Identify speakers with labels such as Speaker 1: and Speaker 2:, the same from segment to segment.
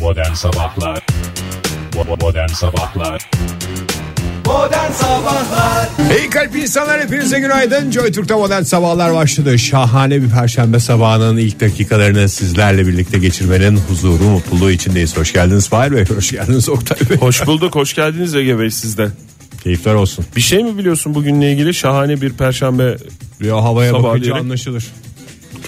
Speaker 1: Modern Sabahlar Bo- Modern Sabahlar
Speaker 2: İyi kalp insanlar hepinize günaydın. Joy Türk'te modern sabahlar başladı. Şahane bir perşembe sabahının ilk dakikalarını sizlerle birlikte geçirmenin huzuru, mutluluğu içindeyiz. Hoş geldiniz Fahir Bey, hoş geldiniz Oktay Bey.
Speaker 3: Hoş bulduk, hoş geldiniz Ege Bey sizden.
Speaker 2: Keyifler olsun.
Speaker 3: Bir şey mi biliyorsun bugünle ilgili? Şahane bir perşembe.
Speaker 2: Ya havaya
Speaker 3: Sabah
Speaker 2: bakınca
Speaker 3: diyerek.
Speaker 2: anlaşılır.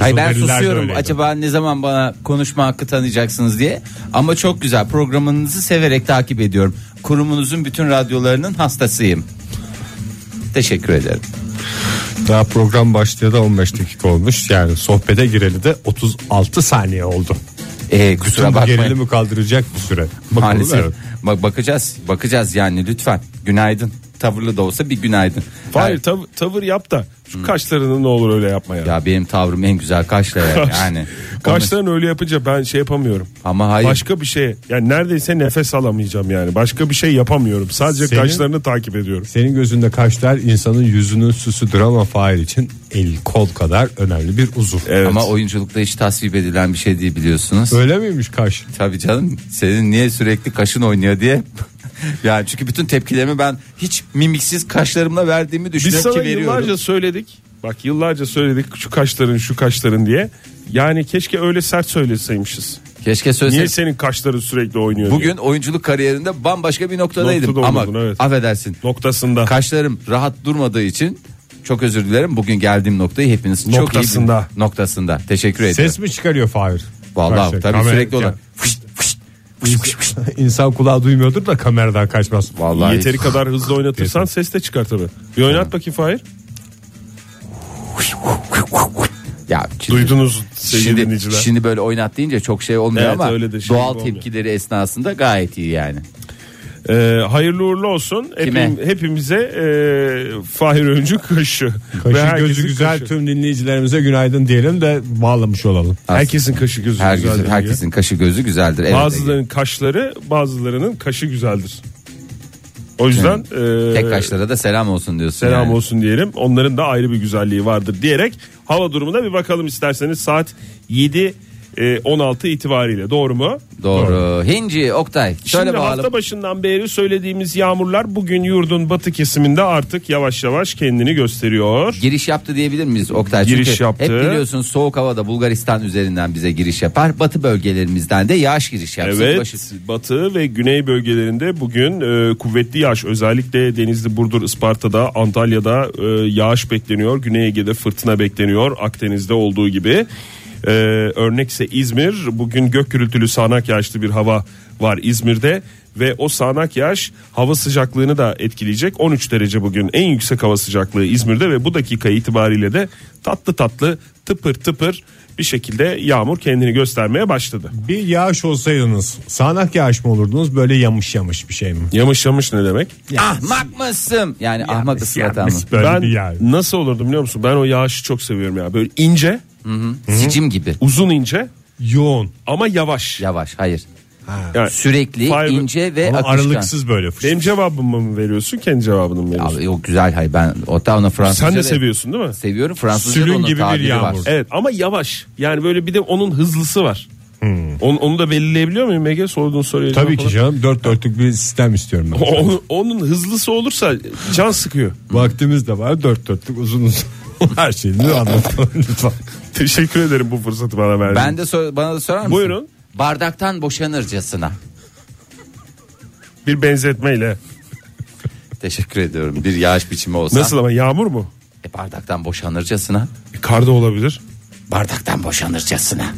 Speaker 4: Ay ben
Speaker 2: Kızılderililer de
Speaker 4: susuyorum.
Speaker 2: öyleydi.
Speaker 4: Acaba ne zaman bana konuşma hakkı tanıyacaksınız diye. Ama çok güzel. Programınızı severek takip ediyorum. Kurumunuzun bütün radyolarının hastasıyım. Teşekkür ederim.
Speaker 2: Daha program başlayalı 15 dakika olmuş. Yani sohbete gireli de 36 saniye oldu.
Speaker 4: Ee,
Speaker 2: Bütün
Speaker 4: kusura
Speaker 2: bu
Speaker 4: bakmayın.
Speaker 2: gerilimi kaldıracak bir süre. Bakalım,
Speaker 4: Maalesef.
Speaker 2: evet.
Speaker 4: Bak bakacağız. Bakacağız yani lütfen. Günaydın. Tavırlı da olsa bir günaydın.
Speaker 3: Hayır tav- tavır yap da şu kaşlarını ne olur öyle yapma ya.
Speaker 4: Ya benim tavrım en güzel kaşla yani. yani.
Speaker 3: Kaşlarını öyle yapınca ben şey yapamıyorum.
Speaker 4: Ama hayır.
Speaker 3: Başka bir şey yani neredeyse nefes alamayacağım yani. Başka bir şey yapamıyorum. Sadece
Speaker 2: Senin-
Speaker 3: kaşlarını takip ediyorum.
Speaker 2: Senin gözünde kaşlar insanın yüzünün süsüdür ama Fahir için el kol kadar önemli bir uzuv.
Speaker 3: Evet.
Speaker 4: Ama oyunculukta hiç tasvip edilen bir şey değil biliyorsunuz.
Speaker 2: Öyle miymiş kaş?
Speaker 4: Tabii canım senin niye sürekli kaşın oynuyor diye. yani çünkü bütün tepkilerimi ben hiç mimiksiz kaşlarımla verdiğimi
Speaker 3: Biz
Speaker 4: düşünüyorum
Speaker 3: sana
Speaker 4: ki veriyorum.
Speaker 3: yıllarca söyledik. Bak yıllarca söyledik şu kaşların şu kaşların diye. Yani keşke öyle sert söyleseymişiz.
Speaker 4: Keşke
Speaker 3: Niye
Speaker 4: söyleseydim.
Speaker 3: senin kaşların sürekli oynuyor? diye.
Speaker 4: Bugün oyunculuk kariyerinde bambaşka bir noktadaydım
Speaker 3: Noktada
Speaker 4: ama
Speaker 3: olmadın, evet.
Speaker 4: affedersin.
Speaker 3: noktasında.
Speaker 4: Kaşlarım rahat durmadığı için çok özür dilerim. Bugün geldiğim noktayı hepiniz çok iyi
Speaker 3: Noktasında.
Speaker 4: bilin- noktasında. Teşekkür ederim.
Speaker 2: Ses mi çıkarıyor Fahir?
Speaker 4: Vallahi
Speaker 2: Kaçta?
Speaker 4: tabii
Speaker 2: Kamera-
Speaker 4: sürekli olan.
Speaker 2: Yani İnsan kulağı duymuyordur da kameradan kaçmaz.
Speaker 4: Vallahi
Speaker 3: Yeteri kadar hızlı oynatırsan ses de çıkar tabii. Bir oynat bakayım Fahir.
Speaker 4: ya şimdi-
Speaker 3: Duydunuz sevgili
Speaker 4: Şimdi,
Speaker 3: dinleyiciler.
Speaker 4: şimdi böyle oynat deyince çok şey olmuyor
Speaker 3: Evet,
Speaker 4: ama
Speaker 3: öyle de şey
Speaker 4: doğal
Speaker 3: olmuyor.
Speaker 4: tepkileri esnasında gayet iyi yani.
Speaker 3: Ee, hayırlı uğurlu olsun.
Speaker 4: Kime?
Speaker 3: Hepim- hepimize e, Fahir Öncü kaşı. Ve
Speaker 2: Kaşı
Speaker 3: herkesin
Speaker 2: gözü güzel
Speaker 3: kaşı.
Speaker 2: tüm dinleyicilerimize günaydın diyelim de bağlamış olalım.
Speaker 3: Herkesin kaşı gözü
Speaker 4: Her
Speaker 3: güzel.
Speaker 4: gözün,
Speaker 3: diyor.
Speaker 4: herkesin kaşı gözü güzeldir. Evet,
Speaker 3: Bazılarının kaşları bazılarının kaşı güzeldir. O yüzden e,
Speaker 4: Tek kaşlara da selam olsun diyorsun.
Speaker 3: selam
Speaker 4: yani.
Speaker 3: olsun diyelim. Onların da ayrı bir güzelliği vardır diyerek hava durumuna bir bakalım isterseniz saat 7 e, 16 itibariyle doğru mu?
Speaker 4: Doğru. Hinci, Oktay. Şöyle
Speaker 3: Şimdi
Speaker 4: bağlı.
Speaker 3: hafta başından beri söylediğimiz yağmurlar bugün yurdun batı kesiminde artık yavaş yavaş kendini gösteriyor.
Speaker 4: Giriş yaptı diyebilir miyiz Oktay?
Speaker 3: Giriş
Speaker 4: Çünkü
Speaker 3: yaptı.
Speaker 4: Hep biliyorsun soğuk havada Bulgaristan üzerinden bize giriş yapar. Batı bölgelerimizden de yağış giriş yapsın.
Speaker 3: Evet
Speaker 4: Başı-
Speaker 3: batı ve güney bölgelerinde bugün e, kuvvetli yağış özellikle Denizli, Burdur, Isparta'da, Antalya'da e, yağış bekleniyor. Güney Ege'de fırtına bekleniyor Akdeniz'de olduğu gibi. E, örnekse İzmir bugün gök gürültülü sağanak yağışlı bir hava var İzmir'de ve o sağanak yağış hava sıcaklığını da etkileyecek. 13 derece bugün en yüksek hava sıcaklığı İzmir'de ve bu dakika itibariyle de tatlı tatlı tıpır tıpır bir şekilde yağmur kendini göstermeye başladı.
Speaker 2: Bir yağış olsaydınız sağanak yağış mı olurdunuz böyle yamış yamış bir şey mi?
Speaker 3: Yamış yamış ne demek?
Speaker 4: Ahmak mısın? Yani ahmak ıslatan mı?
Speaker 2: Böyle
Speaker 3: ben
Speaker 2: bir yağış.
Speaker 3: nasıl olurdum biliyor musun? Ben o yağışı çok seviyorum ya. Böyle ince,
Speaker 4: Sicim gibi.
Speaker 3: uzun ince
Speaker 2: Yoğun.
Speaker 3: ama yavaş.
Speaker 4: Yavaş. Hayır.
Speaker 3: Yani
Speaker 4: Sürekli
Speaker 3: Fiber-
Speaker 4: ince ve
Speaker 2: Ama
Speaker 4: akışkan.
Speaker 2: aralıksız böyle. fış-
Speaker 3: benim cevabımı mı veriyorsun, kendi cevabını mı veriyorsun?
Speaker 4: Abi, o güzel hayır ben hatta ona Fransızca
Speaker 3: Sen de
Speaker 4: ve-
Speaker 3: seviyorsun değil mi?
Speaker 4: Seviyorum Fransızca
Speaker 2: Sülün
Speaker 4: da onun
Speaker 2: gibi bir
Speaker 4: tabiri var.
Speaker 2: yağmur.
Speaker 3: Evet ama yavaş. Yani böyle bir de onun hızlısı var. Onu, onu da belirleyebiliyor muyum Ege sorduğun soruya?
Speaker 2: Tabii
Speaker 3: cevap
Speaker 2: ki canım dört dörtlük bir sistem istiyorum ben.
Speaker 3: olarak? Onun, onun hızlısı olursa can sıkıyor.
Speaker 2: Vaktimiz de var dört dörtlük uzun uzun. Her şeyini anlatalım lütfen.
Speaker 3: Teşekkür ederim bu fırsatı bana verdiğin
Speaker 4: Ben de sor- bana da sorar mısın?
Speaker 3: Buyurun.
Speaker 4: Bardaktan boşanırcasına.
Speaker 3: Bir benzetmeyle.
Speaker 4: Teşekkür ediyorum. Bir yağış biçimi olsa.
Speaker 3: Nasıl ama yağmur mu?
Speaker 4: E, bardaktan boşanırcasına.
Speaker 3: E, kar da olabilir.
Speaker 4: Bardaktan boşanırcasına.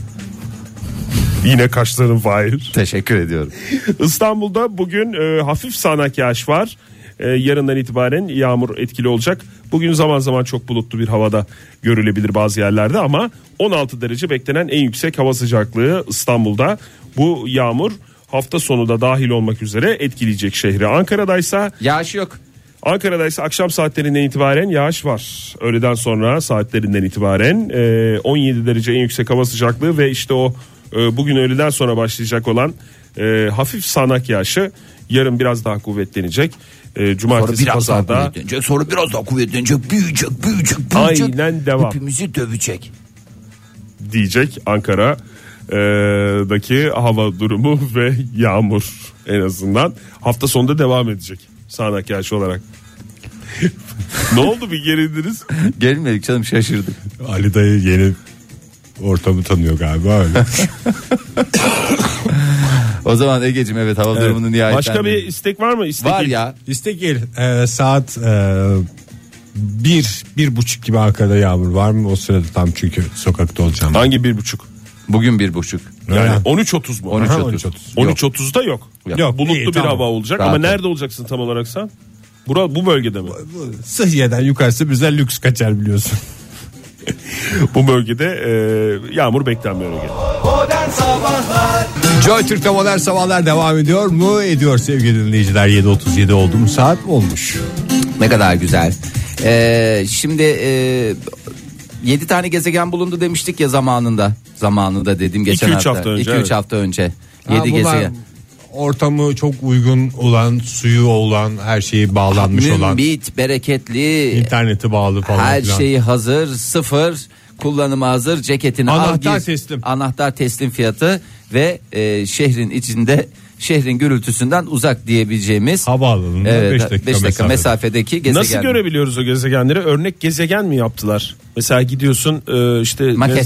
Speaker 3: Yine kaşların fail.
Speaker 4: Teşekkür ediyorum.
Speaker 3: İstanbul'da bugün e, hafif sağanak yağış var. E, yarından itibaren yağmur etkili olacak. Bugün zaman zaman çok bulutlu bir havada görülebilir bazı yerlerde ama 16 derece beklenen en yüksek hava sıcaklığı İstanbul'da. Bu yağmur hafta sonu da dahil olmak üzere etkileyecek şehri. Ankara'daysa
Speaker 4: Yağış yok.
Speaker 3: Ankara'da ise akşam saatlerinden itibaren yağış var. Öğleden sonra saatlerinden itibaren e, 17 derece en yüksek hava sıcaklığı ve işte o e, bugün öğleden sonra başlayacak olan e, hafif sanak yağışı yarın biraz daha kuvvetlenecek. E, cumartesi pazarda
Speaker 4: kuvvetlenecek. Sonra biraz daha kuvvetlenecek. Büyüyecek, büyüyecek,
Speaker 3: Aynen devam.
Speaker 4: Hepimizi dövecek.
Speaker 3: diyecek Ankara e, daki e, hava durumu ve yağmur en azından hafta sonunda devam edecek sağanak yağış olarak. ne oldu bir gerildiniz?
Speaker 4: Gelmedik canım şaşırdık.
Speaker 2: Ali dayı yeni ortamı tanıyor galiba öyle.
Speaker 4: O zaman Ege'cim evet hava durumunu nihayet
Speaker 3: Başka bir istek var mı? İstek
Speaker 4: var
Speaker 3: il-
Speaker 4: ya
Speaker 2: İstek il, e, saat e, bir, bir buçuk gibi Ankara'da yağmur var mı? O sırada tam çünkü sokakta olacağım.
Speaker 3: Hangi bir buçuk?
Speaker 4: bugün bir buçuk.
Speaker 3: Yani
Speaker 2: Öyle.
Speaker 3: 13.30 mu?
Speaker 4: 13.30.
Speaker 2: Aha,
Speaker 4: 13.30.
Speaker 3: 13.30'da yok.
Speaker 4: Yok.
Speaker 2: Yok,
Speaker 3: Bulutlu
Speaker 2: iyi,
Speaker 3: bir
Speaker 2: tamam.
Speaker 3: hava olacak
Speaker 4: Rahat
Speaker 3: ama
Speaker 4: ol.
Speaker 3: nerede olacaksın tam olarak sen? Bura, bu bölgede mi?
Speaker 2: Sıhhiye'den yukarısı bize lüks kaçar biliyorsun.
Speaker 3: Bu bölgede e, yağmur beklenmiyor. o gün.
Speaker 2: Joy Türk'te modern sabahlar devam ediyor mu? Ediyor sevgili dinleyiciler 7.37 oldu mu saat olmuş.
Speaker 4: Ne kadar güzel. Ee, şimdi e, 7 tane gezegen bulundu demiştik ya zamanında. Zamanında dedim geçen
Speaker 3: İki, üç
Speaker 4: hafta.
Speaker 3: hafta önce,
Speaker 4: 2-3
Speaker 3: evet.
Speaker 4: hafta önce.
Speaker 2: Ha,
Speaker 4: 7
Speaker 2: bunlar
Speaker 4: gezegen.
Speaker 2: Ortamı çok uygun olan, suyu olan, her şeyi bağlanmış olan,
Speaker 4: Mümbit, bereketli,
Speaker 2: interneti bağlı falan.
Speaker 4: her
Speaker 2: filan.
Speaker 4: şey hazır, sıfır, kullanıma hazır, ceketini al,
Speaker 2: Anahtar
Speaker 4: gir.
Speaker 2: teslim.
Speaker 4: Anahtar teslim fiyatı ve e, şehrin içinde şehrin gürültüsünden uzak diyebileceğimiz
Speaker 2: Havaalanında
Speaker 4: Evet,
Speaker 2: beş dakika,
Speaker 4: beş
Speaker 2: mesafede.
Speaker 4: mesafedeki gezegen.
Speaker 3: Nasıl görebiliyoruz o gezegenleri? Örnek gezegen mi yaptılar? Mesela gidiyorsun e, işte
Speaker 4: Maket.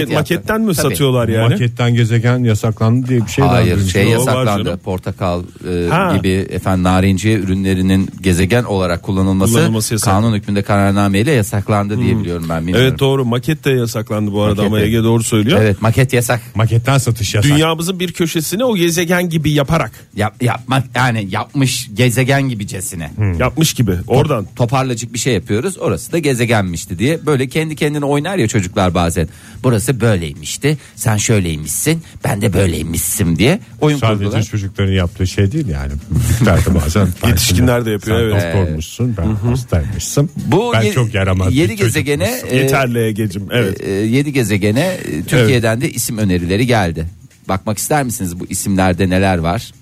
Speaker 4: Maket yaptı.
Speaker 3: maketten mi
Speaker 4: Tabii.
Speaker 3: satıyorlar yani?
Speaker 2: Maketten gezegen yasaklandı diye bir şey daha
Speaker 4: Hayır
Speaker 2: duymuştum.
Speaker 4: şey
Speaker 3: O var
Speaker 4: yasaklandı
Speaker 3: canım.
Speaker 4: portakal e,
Speaker 3: Ha.
Speaker 4: gibi efendim narinciye ürünlerinin gezegen olarak kullanılması,
Speaker 3: Kullanılması yasak. Hmm.
Speaker 4: kanun hükmünde kararnameyle yasaklandı diye biliyorum ben bilmiyorum.
Speaker 3: Evet doğru maket de yasaklandı bu arada
Speaker 4: Maket
Speaker 3: ama
Speaker 4: de.
Speaker 3: Ege doğru söylüyor.
Speaker 4: Evet maket yasak
Speaker 2: Maketten satış yasak.
Speaker 3: Dünyamızın bir köşesini o gezegen gibi yaparak
Speaker 4: Yap, yapmak yani yapmış gezegen gibicesine
Speaker 3: yapmış gibi oradan.
Speaker 4: toparlacık bir şey yapıyoruz orası da gezegenmişti diye böyle kendi kendine oynar ya çocuklar bazen burası böyleymişti sen şöyleymişsin ben de böyleymişsin diye oyun
Speaker 2: Sadece
Speaker 4: kurdular.
Speaker 2: çocukların yaptığı şey değil yani. Büyükler de bazen
Speaker 3: Yetişkinler de yapıyor,
Speaker 2: Sen
Speaker 3: evet.
Speaker 2: doktormuşsun ben hastaymışsın.
Speaker 4: Bu
Speaker 2: ben
Speaker 4: ye-
Speaker 2: çok yaramaz.
Speaker 4: yeni
Speaker 2: bir çocukmuşum.
Speaker 4: gezegene e,
Speaker 3: Yeterli Ege'cim evet.
Speaker 4: e, yedi gezegene e, Türkiye'den de isim önerileri geldi. Bakmak ister misiniz bu isimlerde neler var?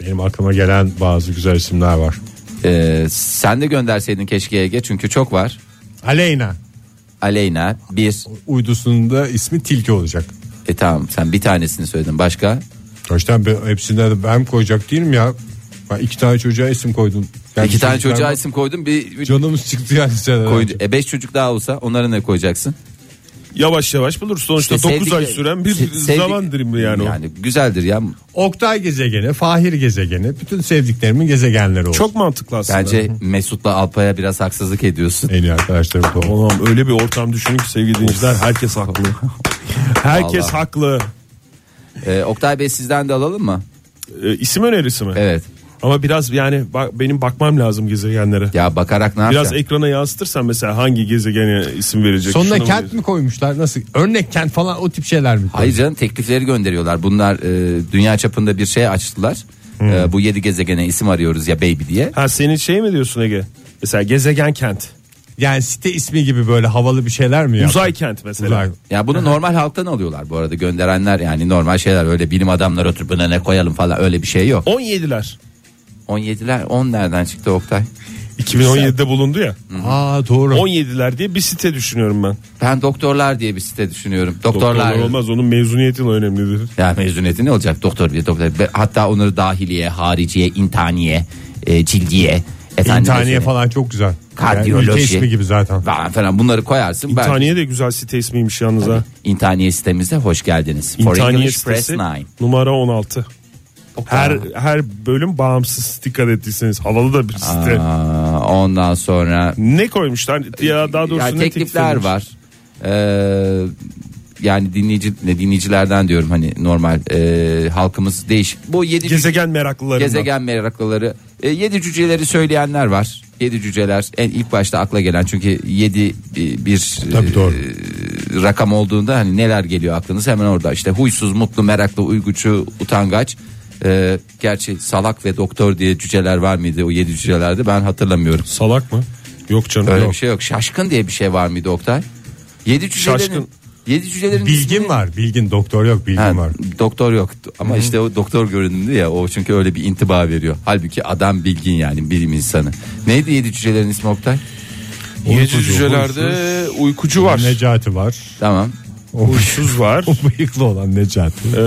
Speaker 2: Benim aklıma gelen bazı güzel isimler var.
Speaker 4: E, sen de gönderseydin keşke Ege çünkü çok var.
Speaker 2: Aleyna.
Speaker 4: Aleyna bir.
Speaker 2: Uydusunda ismi Tilki olacak.
Speaker 4: E tamam sen bir tanesini söyledin başka.
Speaker 2: Baştan be- hepsine de ben koyacak değilim ya. Ben iki tane çocuğa isim koydum. Yani
Speaker 4: İki tane
Speaker 2: çocuklar-
Speaker 4: çocuğa isim koydun bir üç
Speaker 2: Canımız çıktı yani liseden
Speaker 4: koydu.
Speaker 2: önce.
Speaker 4: E beş çocuk daha olsa onlara ne koyacaksın?
Speaker 3: Yavaş yavaş bulur. Sonuçta
Speaker 4: İşte
Speaker 3: 9 ay
Speaker 4: sevdik-
Speaker 3: süren bir
Speaker 4: se- sevdik-
Speaker 3: zaman dilimi yani, o.
Speaker 4: Yani güzeldir ya.
Speaker 2: Oktay gezegeni, Fahir gezegeni, bütün sevdiklerimin gezegenleri oldu.
Speaker 3: Çok mantıklı aslında.
Speaker 4: Bence Mesut'la Alpay'a biraz haksızlık ediyorsun.
Speaker 2: en iyi arkadaşlarım da o.
Speaker 3: Oğlum öyle bir ortam düşünün ki sevgili dinleyiciler herkes haklı. herkes
Speaker 4: Vallahi.
Speaker 3: haklı.
Speaker 4: E, Oktay Bey sizden de alalım mı?
Speaker 3: Ee, isim önerisi mi?
Speaker 4: Evet.
Speaker 3: Ama biraz yani bak, benim bakmam lazım gezegenlere.
Speaker 4: Ya bakarak ne
Speaker 3: Biraz
Speaker 4: yapacaksın?
Speaker 3: ekrana yansıtırsan mesela hangi gezegene isim verecek?
Speaker 2: Sonuna
Speaker 3: şunu
Speaker 2: kent
Speaker 3: verecek.
Speaker 2: mi koymuşlar nasıl? Örnek kent falan o tip şeyler mi?
Speaker 4: Hayır canım teklifleri gönderiyorlar. Bunlar e, dünya çapında bir şey açtılar. E, bu yedi gezegene isim arıyoruz ya baby diye.
Speaker 3: Ha senin şey mi diyorsun Ege? Mesela gezegen kent.
Speaker 2: Yani site ismi gibi böyle havalı bir şeyler mi ya?
Speaker 3: Uzay kent mesela.
Speaker 2: Uzay.
Speaker 4: Ya bunu normal halktan alıyorlar bu arada gönderenler yani normal şeyler öyle bilim adamları oturup buna ne koyalım falan öyle bir şey yok.
Speaker 3: 17'ler.
Speaker 4: 17'ler 10 nereden çıktı Oktay?
Speaker 3: 2017'de bulundu ya.
Speaker 2: Aa doğru.
Speaker 3: 17'ler diye bir site düşünüyorum ben.
Speaker 4: Ben doktorlar diye bir site düşünüyorum. Doktorlar.
Speaker 3: Doktorlar olmaz onun mezuniyetin önemlidir.
Speaker 4: Ya mezuniyeti ne olacak doktor bir doktor. Ve Hatta onları dahiliye, hariciye, intaniye, e, cildiye. efendim
Speaker 2: İntihaniye
Speaker 4: mezuniyet,
Speaker 2: falan çok güzel.
Speaker 4: Kardiyoloji.
Speaker 2: Yani ülke ismi gibi zaten.
Speaker 4: falan falan bunları koyarsın. belki-
Speaker 3: İntihaniye de güzel site ismiymiş yalnız ha.
Speaker 4: İntihaniye sitemize hoş geldiniz. For
Speaker 3: İntihaniye
Speaker 4: English Press
Speaker 3: sitesi
Speaker 4: 9.
Speaker 3: numara 16. Her
Speaker 4: Her
Speaker 3: her bölüm bağımsız dikkat ettiyseniz havalı da bir site.
Speaker 4: ondan sonra
Speaker 3: Ne koymuşlar? Ya daha doğrusu
Speaker 4: yani
Speaker 3: ne
Speaker 4: teklifler
Speaker 3: teklif
Speaker 4: var. Ee, yani dinleyici ne dinleyicilerden diyorum hani normal e, halkımız değişik. Bu yedi cüce-
Speaker 3: Gezegen meraklılarından.
Speaker 4: gezegen meraklıları. E, yedi cüceleri söyleyenler var. Yedi cüceler en ilk başta akla gelen çünkü yedi bir, bir,
Speaker 2: Tabii doğru.
Speaker 3: Ee,
Speaker 4: e, rakam olduğunda hani neler geliyor aklınıza hemen orada işte huysuz, mutlu, meraklı, uygucu, utangaç. E, gerçi salak ve doktor diye cüceler var mıydı o yedi cücelerde ben hatırlamıyorum.
Speaker 3: Salak mı? Yok canım
Speaker 4: Öyle
Speaker 3: yok.
Speaker 4: bir şey yok. Şaşkın diye bir şey var mıydı Oktay? Yedi cücelerin.
Speaker 3: Şaşkın.
Speaker 4: Yedi cücelerin. ismini-
Speaker 2: Bilgin var. Bilgin doktor yok bilgin
Speaker 4: Ha,
Speaker 2: var.
Speaker 4: Doktor yok ama işte o doktor görünümlü ya o çünkü öyle bir intiba veriyor. Halbuki adam bilgin yani bilim insanı. Neydi yedi cücelerin ismi Oktay?
Speaker 2: Uykucu,
Speaker 5: Yedi cücelerde uykucu var.
Speaker 2: Necati var.
Speaker 4: Tamam.
Speaker 3: Huysuz var.
Speaker 2: O bıyıklı olan Necati.
Speaker 3: Ee,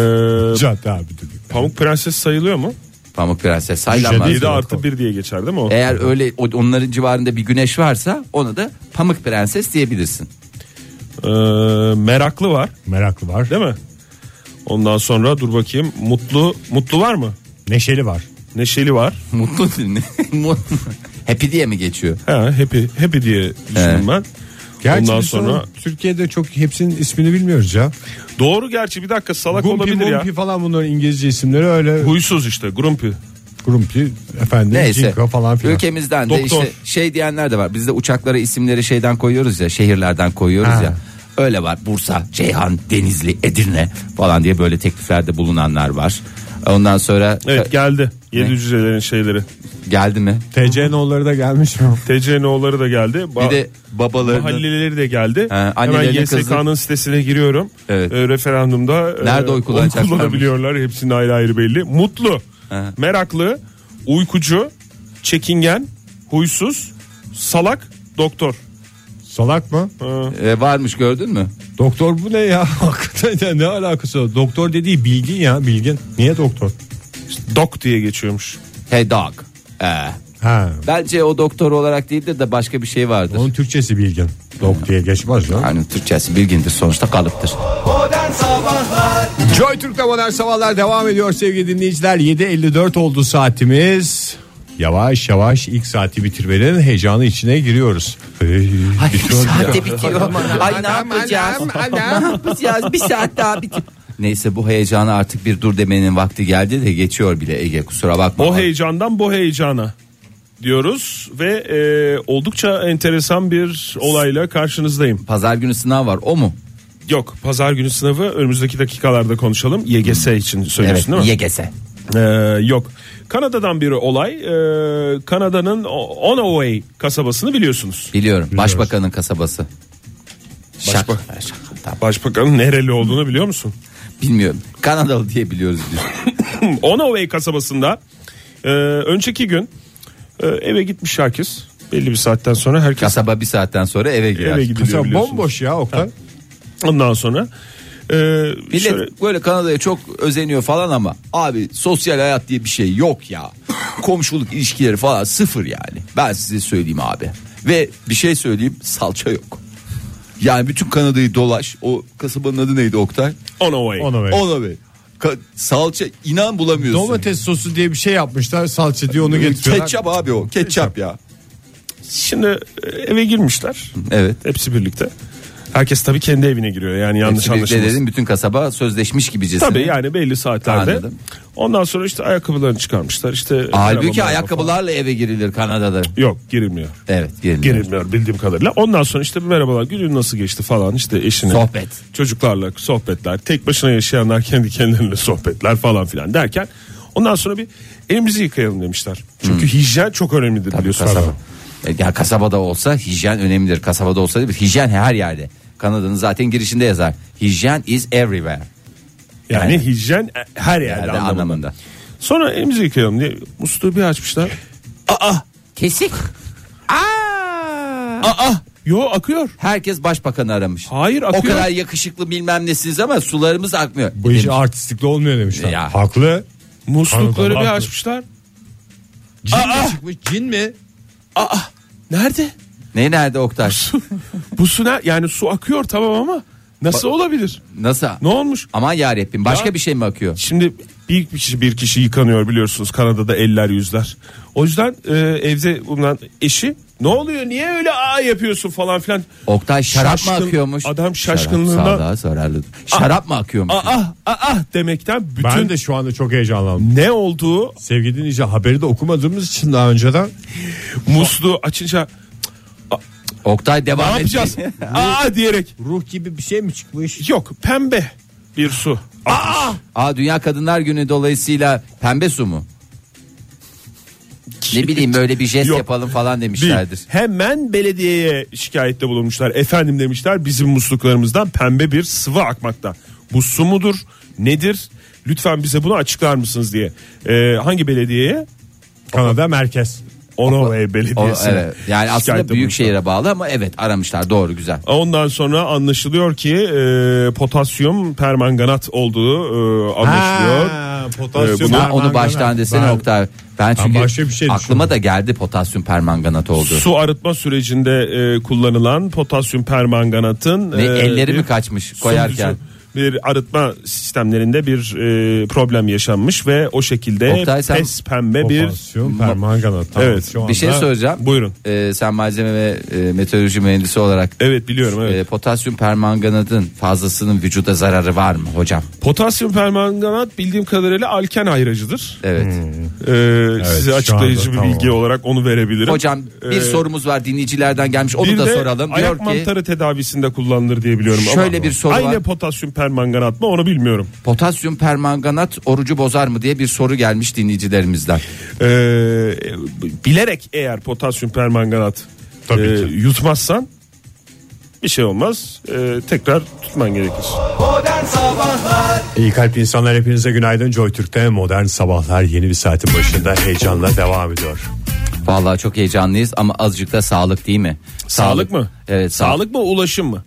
Speaker 2: Necati abi dedi.
Speaker 3: Pamuk Prenses sayılıyor mu?
Speaker 4: Pamuk Prenses saylanmaz.
Speaker 3: 7 artı 1 diye geçer değil mi o?
Speaker 4: Eğer öyle o- onların civarında bir güneş varsa ona da Pamuk Prenses diyebilirsin.
Speaker 3: Ee, meraklı var
Speaker 2: Meraklı var.
Speaker 3: değil mi? Ondan sonra dur bakayım mutlu mutlu var mı?
Speaker 2: Neşeli var.
Speaker 3: Neşeli var.
Speaker 4: Mutlu Mutlu- Happy diye mi geçiyor?
Speaker 3: Ha, happy, happy diye düşündüm ben.
Speaker 2: Gerçi
Speaker 3: Ondan
Speaker 2: biz
Speaker 3: sonra
Speaker 2: Türkiye'de çok hepsinin ismini bilmiyoruz ya.
Speaker 3: doğru gerçi bir dakika salak
Speaker 2: Grumpy
Speaker 3: olabilir ya.
Speaker 2: Mumpy falan bunların İngilizce isimleri öyle.
Speaker 3: Huysuz işte Grumpy.
Speaker 2: Grumpy efendim
Speaker 4: Neyse.
Speaker 2: Cinka falan filan.
Speaker 4: Ülkemizden de
Speaker 3: Doktor.
Speaker 4: işte şey diyenler de var. Biz de uçaklara isimleri şeyden koyuyoruz ya, şehirlerden koyuyoruz
Speaker 2: Ha.
Speaker 4: ya. Öyle var. Bursa, Ceyhan, Denizli, Edirne falan diye böyle tekliflerde bulunanlar var. Ondan sonra e,
Speaker 3: Evet geldi. Yedi hücrelerin şeyleri.
Speaker 4: geldi mi?
Speaker 2: TC'nin onları da gelmiş mi?
Speaker 3: TCNO'ları da geldi. Ba-
Speaker 4: Bir de babalarının
Speaker 3: Mahalleleri de geldi.
Speaker 4: Ha,
Speaker 3: Hemen
Speaker 4: annelerine
Speaker 3: YSK'nın sitesine giriyorum.
Speaker 4: Evet.
Speaker 3: E, referandumda e,
Speaker 4: Nerede oy kullanacaklarmış?
Speaker 3: kullanabiliyorlar. Hepsinin ayrı ayrı belli. Mutlu,
Speaker 4: Ha.
Speaker 3: meraklı, uykucu, çekingen, huysuz, salak, doktor.
Speaker 2: Salak mı?
Speaker 4: e, varmış gördün mü?
Speaker 2: Doktor bu ne ya? Hakikaten ya, ne alakası var? Doktor dediği bilgin ya bilgin. Niye doktor?
Speaker 3: Dok diye geçiyormuş.
Speaker 4: Hey dog. Ee,
Speaker 2: Ha.
Speaker 4: bence o doktor olarak değildir de başka bir şey vardır.
Speaker 2: Onun Türkçesi bilgin. Dok diye geçmez ya.
Speaker 4: Yani Hani Türkçesi bilgindir sonuçta kalıptır.
Speaker 2: Joy Türk'te modern sabahlar devam ediyor sevgili dinleyiciler. 7.54 oldu saatimiz. Yavaş yavaş ilk saati bitirmenin heyecanı içine giriyoruz. şey Hey,
Speaker 4: Ay
Speaker 2: bitiyor ya.
Speaker 4: saate bitiyor. Ay ne yapacağız? Ne yapacağız? Bir saat daha bitiyor. Neyse bu heyecana artık bir dur demenin vakti geldi de geçiyor bile Ege kusura bakma.
Speaker 3: O heyecandan bu heyecana diyoruz ve e, oldukça enteresan bir olayla karşınızdayım.
Speaker 4: Pazar günü sınav var o mu?
Speaker 3: Yok pazar günü sınavı önümüzdeki dakikalarda konuşalım. YGS için
Speaker 4: Evet
Speaker 3: söylüyorsun değil mi?
Speaker 4: YGS.
Speaker 3: Ee, yok. Kanada'dan bir olay. Ee, Kanada'nın O- Onaway kasabasını biliyorsunuz.
Speaker 4: Biliyorum başbakanın kasabası. Şak. Şak. Tamam.
Speaker 3: Başbakanın nereli olduğunu biliyor musun?
Speaker 4: Bilmiyorum. Kanadalı diye biliyoruz biz.
Speaker 3: Hmm, Onaway kasabasında e, önceki gün e, eve gitmiş herkes. Belli bir saatten sonra herkes
Speaker 4: Kasaba bir saatten sonra eve girer.
Speaker 3: eve gidiyor
Speaker 2: Kasa
Speaker 3: biliyorsunuz.
Speaker 2: bomboş ya Oktay.
Speaker 3: Ondan sonra e,
Speaker 4: Millet
Speaker 3: şöyle-
Speaker 4: böyle Kanada'ya çok özeniyor falan ama abi sosyal hayat diye bir şey yok ya. Komşuluk ilişkileri falan sıfır yani. Ben size söyleyeyim abi. Ve bir şey söyleyeyim salça yok. Yani bütün Kanada'yı dolaş. O kasabanın adı neydi Oktay?
Speaker 3: Onaway.
Speaker 2: Ona ver.
Speaker 4: Ona be. Ka- salça inan bulamıyorsun.
Speaker 2: Domates sosu diye bir şey yapmışlar. Salça diye onu getiriyorlar.
Speaker 4: ketçap abi o. Ketçap ya.
Speaker 3: Şimdi e, eve girmişler.
Speaker 4: Evet.
Speaker 3: Hepsi birlikte. Herkes tabii kendi evine giriyor. Yani yanlış
Speaker 4: Hepsi birlikte
Speaker 3: anlaşılmasın.
Speaker 4: dedim bütün kasaba sözleşmiş gibicesine.
Speaker 3: Tabii yani belli saatlerde.
Speaker 4: Anladım.
Speaker 3: Ondan sonra işte ayakkabılarını çıkarmışlar. İşte
Speaker 4: Halbuki
Speaker 3: arabalarla falan.
Speaker 4: ayakkabılarla eve girilir Kanada'da.
Speaker 3: Yok girilmiyor.
Speaker 4: Evet girilir.
Speaker 3: Girilmiyor bildiğim kadarıyla. Ondan sonra işte merhabalar günün nasıl geçti falan işte eşine.
Speaker 4: Sohbet.
Speaker 3: Çocuklarla sohbetler. Tek başına yaşayanlar kendi kendilerine sohbetler falan filan derken. Ondan sonra bir elimizi yıkayalım demişler. Çünkü hijyen çok önemlidir biliyorsun.
Speaker 4: Hmm. kasaba. E, Ya kasabada olsa hijyen önemlidir. Kasabada olsa değil mi? Hijyen her yerde. Kanada'nın zaten girişinde yazar. Hijyen is everywhere.
Speaker 3: Yani,
Speaker 4: Yani.
Speaker 3: hijyen her yerde
Speaker 4: Yani
Speaker 3: anlamında.
Speaker 4: anlamında.
Speaker 3: Sonra elimizi yıkayalım diye musluğu bir açmışlar.
Speaker 4: Kesik.
Speaker 3: Yo akıyor.
Speaker 4: Herkes başbakanı aramış.
Speaker 3: Hayır,
Speaker 4: O
Speaker 3: akıyor.
Speaker 4: kadar yakışıklı bilmem nesiniz ama sularımız akmıyor.
Speaker 2: Bu iş
Speaker 4: Demiş.
Speaker 2: artistlikle olmuyor demişler.
Speaker 4: Ya.
Speaker 2: Haklı.
Speaker 3: Muslukları
Speaker 2: Anladım,
Speaker 3: bir
Speaker 2: haklı.
Speaker 3: açmışlar.
Speaker 2: Cin mi çıkmış? Cin mi?
Speaker 3: Nerede?
Speaker 4: Ne nerede Oktaş?
Speaker 3: Bu su ne? Yani su akıyor tamam ama nasıl olabilir?
Speaker 4: Nasıl?
Speaker 3: Ne olmuş?
Speaker 4: Aman yarabbim başka
Speaker 3: Ya.
Speaker 4: bir şey mi akıyor?
Speaker 3: Şimdi bir kişi bir kişi yıkanıyor biliyorsunuz Kanada'da eller yüzler. O yüzden e, evde bulunan eşi ne oluyor niye öyle aa yapıyorsun falan filan.
Speaker 4: Oktay şarap
Speaker 3: Şaşkın-
Speaker 4: mı akıyormuş?
Speaker 3: adam
Speaker 4: Şarap
Speaker 3: şaşkınlığından-
Speaker 4: sağlığa zararlı. Şarap mı akıyormuş?
Speaker 3: Aa ah, aa ah demekten bütün
Speaker 2: Ben de şu anda çok heyecanlandım.
Speaker 3: ne olduğu
Speaker 2: Sevgili dinleyici haberi de okumadığımız için daha önceden
Speaker 3: musluğu açınca
Speaker 4: Oktay
Speaker 3: ne
Speaker 4: devam et.
Speaker 3: yapacağız? aa diyerek
Speaker 2: ruh gibi bir şey mi çıkmış?
Speaker 3: yok pembe bir su. Aa
Speaker 4: Aa Dünya Kadınlar Günü dolayısıyla pembe su mu? Ne bileyim böyle bir jest
Speaker 3: Yok.
Speaker 4: yapalım falan demişlerdir.
Speaker 3: Bir, hemen belediyeye şikayette bulunmuşlar. Efendim demişler bizim musluklarımızdan pembe bir sıvı akmakta. Bu su mudur? Nedir? Lütfen bize bunu açıklar mısınız diye. Ee, hangi belediyeye?
Speaker 2: Kanada merkez.
Speaker 3: Onova Belediyesi.
Speaker 4: O- evet. Yani aslında
Speaker 3: Şikayette
Speaker 4: büyük
Speaker 3: bulmuşlar.
Speaker 4: şehire bağlı ama evet aramışlar doğru güzel.
Speaker 3: Ondan sonra anlaşılıyor ki e, potasyum permanganat olduğu e, anlaşılıyor.
Speaker 2: Ha, potasyum
Speaker 3: Ee, bunu-
Speaker 2: permanganat.
Speaker 4: onu baştan desene
Speaker 2: Ben-
Speaker 4: Oktay. Ben çünkü
Speaker 2: başka bir şey
Speaker 4: aklıma
Speaker 2: düşündüm.
Speaker 4: da geldi potasyum permanganat oldu.
Speaker 3: Su arıtma sürecinde e, kullanılan potasyum permanganatın
Speaker 4: Ve
Speaker 3: e,
Speaker 4: elleri
Speaker 3: bir
Speaker 4: mi kaçmış
Speaker 3: sunucu-
Speaker 4: koyarken?
Speaker 3: bir şey- arıtma sistemlerinde bir e, problem yaşanmış ve o şekilde
Speaker 4: Oktay sen-
Speaker 3: pes pembe bir
Speaker 2: Potasyum permanganat. Tamam,
Speaker 3: Evet.
Speaker 2: şu
Speaker 4: Bir şey
Speaker 2: anda-
Speaker 4: söyleyeceğim.
Speaker 3: Buyurun.
Speaker 4: Ee, sen malzeme ve e, meteoroloji mühendisi olarak
Speaker 3: Evet biliyorum evet.
Speaker 4: e, potasyum permanganatın fazlasının vücuda zararı var mı hocam?
Speaker 3: Potasyum permanganat bildiğim kadarıyla alken ayracıdır.
Speaker 4: Evet.
Speaker 3: Ee, size
Speaker 2: şu
Speaker 3: açıklayıcı
Speaker 2: anda
Speaker 3: bir
Speaker 2: tamam.
Speaker 3: bilgi olarak onu verebilirim.
Speaker 4: Hocam bir
Speaker 3: Ee,
Speaker 4: sorumuz var dinleyicilerden gelmiş onu
Speaker 3: bir
Speaker 4: da
Speaker 3: de
Speaker 4: soralım. Diyor
Speaker 3: Ayak
Speaker 4: ki
Speaker 3: mantarı tedavisinde kullanılır diye biliyorum.
Speaker 4: Şöyle
Speaker 3: ama
Speaker 4: bir soru
Speaker 3: aynı
Speaker 4: var.
Speaker 3: potasyum permanganat mı onu bilmiyorum.
Speaker 4: potasyum permanganat orucu bozar mı diye bir soru gelmiş dinleyicilerimizden.
Speaker 3: Ee, bilerek eğer potasyum permanganat
Speaker 2: Tabii
Speaker 3: e,
Speaker 2: ki.
Speaker 3: yutmazsan bir şey olmaz. Ee, tekrar tutman gerekir.
Speaker 2: İyi kalp insanlar hepinize günaydın. Joy Türk'te modern sabahlar yeni bir saatin başında heyecanla devam ediyor.
Speaker 4: Vallahi çok heyecanlıyız ama azıcık da sağlık değil mi? Sağlık,
Speaker 3: Sağlık mı?
Speaker 4: Evet sağlık.
Speaker 3: Sağlık mı ulaşım mı?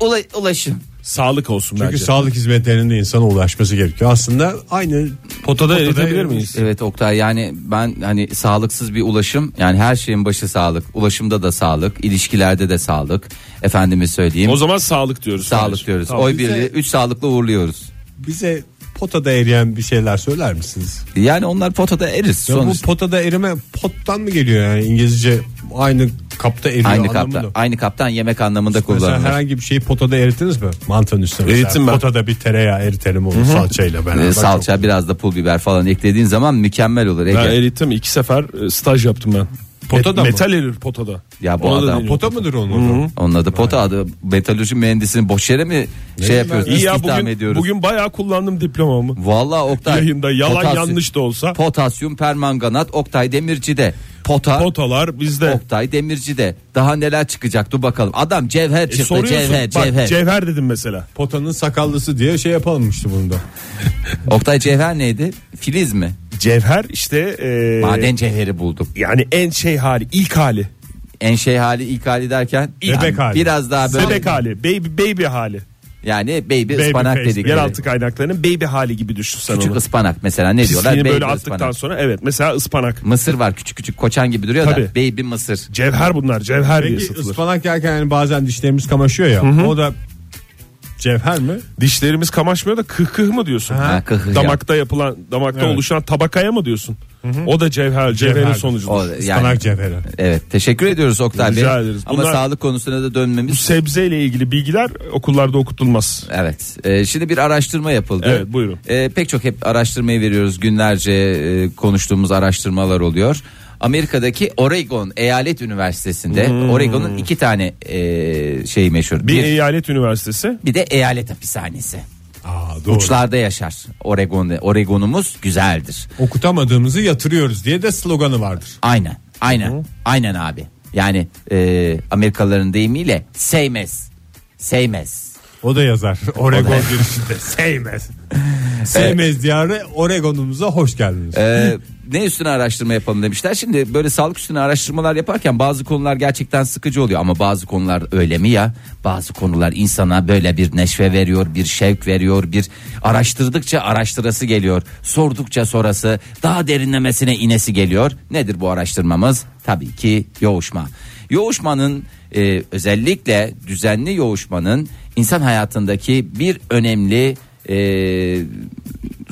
Speaker 4: Ula- ulaşım.
Speaker 3: Sağlık olsun
Speaker 2: Çünkü
Speaker 3: bence.
Speaker 2: sağlık hizmetlerinin de insana ulaşması gerekiyor. Aslında aynı
Speaker 3: Potada eritebilir
Speaker 2: erimiş.
Speaker 3: miyiz?
Speaker 4: Evet Oktay yani ben hani sağlıksız bir ulaşım yani her şeyin başı sağlık. Ulaşımda da sağlık, ilişkilerde de sağlık. Efendime söyleyeyim.
Speaker 3: O zaman sağlık diyoruz.
Speaker 4: sağlık diyoruz.
Speaker 2: Tamam,
Speaker 4: Oy
Speaker 2: bize-
Speaker 4: birliği üç sağlıklı uğurluyoruz.
Speaker 2: bize potada eriyen bir şeyler söyler misiniz?
Speaker 4: Yani onlar potada erir
Speaker 2: Ya bu
Speaker 4: sonuçta.
Speaker 2: potada erime pottan mı geliyor yani İngilizce aynı kapta
Speaker 3: şey
Speaker 2: eriyor
Speaker 4: Aynı
Speaker 2: anlamında.
Speaker 4: kapta, aynı kaptan yemek anlamında
Speaker 2: Mesela
Speaker 4: kullanılır.
Speaker 2: herhangi bir şeyi potada eritiniz mi? Mantının üstüne mesela.
Speaker 3: Eritim ben.
Speaker 2: Potada bir tereyağı eritelim onu salçayla beraber.
Speaker 4: Ee, salça biraz da pul biber falan eklediğin zaman mükemmel olur Ege.
Speaker 3: Ben eritim iki sefer e, staj yaptım ben.
Speaker 2: Potada mı?
Speaker 3: Metal erir potada.
Speaker 4: Ya bu
Speaker 3: Ona da
Speaker 4: adam-
Speaker 3: deniyor.
Speaker 2: Çok- Pota mıdır onun? adı?
Speaker 4: Onun adı pota adı metalurji mühendisini boş yere mi şey yapıyoruz
Speaker 3: İyi ya
Speaker 4: istihdam
Speaker 3: bugün,
Speaker 4: ediyoruz.
Speaker 3: bugün bayağı kullandım diplomamı.
Speaker 4: Vallahi Oktay
Speaker 3: Yayında yalan
Speaker 4: potasyum-
Speaker 3: yanlış da olsa
Speaker 4: Potasyum permanganat Oktay Demirci'de pota
Speaker 3: potalar bizde.
Speaker 4: Oktay Demirci'de daha neler çıkacak dur bakalım. Adam cevher
Speaker 3: E,
Speaker 4: çıktı
Speaker 3: soruyorsun.
Speaker 4: cevher
Speaker 3: Bak,
Speaker 4: cevher.
Speaker 3: cevher dedim mesela.
Speaker 2: Potanın sakallısı diye şey yapalmıştı bunda.
Speaker 4: Oktay cevher neydi? Filiz mi?
Speaker 3: Cevher işte e,
Speaker 4: Maden cevheri buldum.
Speaker 3: yani en şey hali, ilk hali.
Speaker 4: En şey hali ilk hali derken
Speaker 2: İlk- Bebek hali.
Speaker 4: biraz daha böyle
Speaker 3: Bebek hali, baby baby hali.
Speaker 4: yani baby,
Speaker 2: Baby
Speaker 4: ıspanak
Speaker 2: face,
Speaker 4: dedik.
Speaker 3: Yeraltı kaynaklarının baby hali gibi düşün sen
Speaker 4: Küçük
Speaker 3: onu.
Speaker 4: ıspanak mesela ne diyorlar?
Speaker 3: Pisliğini
Speaker 4: Baby
Speaker 3: böyle attıktan
Speaker 4: ıspanak.
Speaker 3: sonra evet mesela ıspanak.
Speaker 4: Mısır var küçük küçük koçan gibi duruyor
Speaker 3: Tabii.
Speaker 4: da baby mısır.
Speaker 3: Cevher bunlar, cevher diye
Speaker 2: Peki
Speaker 3: satılır.
Speaker 2: ıspanak yerken yani bazen dişlerimiz kamaşıyor ya. O da cevher mi?
Speaker 3: Dişlerimiz kamaşmıyor da kıhkıh mı diyorsun?
Speaker 4: Ha, kıhkıh ya.
Speaker 3: damakta yapılan, damakta
Speaker 2: Evet.
Speaker 3: oluşan tabakaya mı diyorsun? O da cevher, cevherin
Speaker 2: Cevher.
Speaker 3: sonucudur.
Speaker 4: O,
Speaker 2: Ispanak
Speaker 4: yani,
Speaker 2: cevheri.
Speaker 4: evet teşekkür ediyoruz Oktay Bey.
Speaker 3: Rica ederiz.
Speaker 4: Ama
Speaker 3: Bunlar-
Speaker 4: sağlık konusuna da
Speaker 3: Bu
Speaker 4: dönmemiz.
Speaker 3: sebzeyle ilgili bilgiler okullarda okutulmaz.
Speaker 4: Evet. Ee, şimdi bir araştırma yapıldı.
Speaker 3: Evet, buyurun.
Speaker 4: Ee, pek çok hep araştırmayı veriyoruz. Günlerce e, konuştuğumuz araştırmalar oluyor. Amerika'daki Oregon Eyalet Üniversitesi'nde Oregon'un iki tane e, şey meşhur.
Speaker 3: Hmm. Bir,
Speaker 4: Bir, bir,
Speaker 3: eyalet üniversitesi.
Speaker 4: de eyalet hapishanesi.
Speaker 2: Aa, doğru.
Speaker 4: Uçlarda yaşar. Oregon'da Oregon'umuz güzeldir.
Speaker 2: Okutamadığımızı yatırıyoruz diye de sloganı vardır.
Speaker 4: Aynen. Aynen. Aynen abi. Yani e, Amerikalıların deyimiyle seymez. Seymez.
Speaker 2: O da yazar. Oregon girişinde. Sevmez. Sevmez diyarı Oregon'umuza hoş geldiniz.
Speaker 4: Ee, ne üstüne araştırma yapalım demişler. Şimdi böyle sağlık üstüne araştırmalar yaparken bazı konular gerçekten sıkıcı oluyor ama bazı konular öyle mi ya? Bazı konular insana böyle bir neşve veriyor, bir şevk veriyor, bir araştırdıkça araştırası geliyor. Sordukça sorası, daha derinlemesine inesi geliyor. Nedir bu araştırmamız? Tabii ki yoğuşma. Yoğuşmanın e, özellikle düzenli yoğuşmanın insan hayatındaki bir önemli e,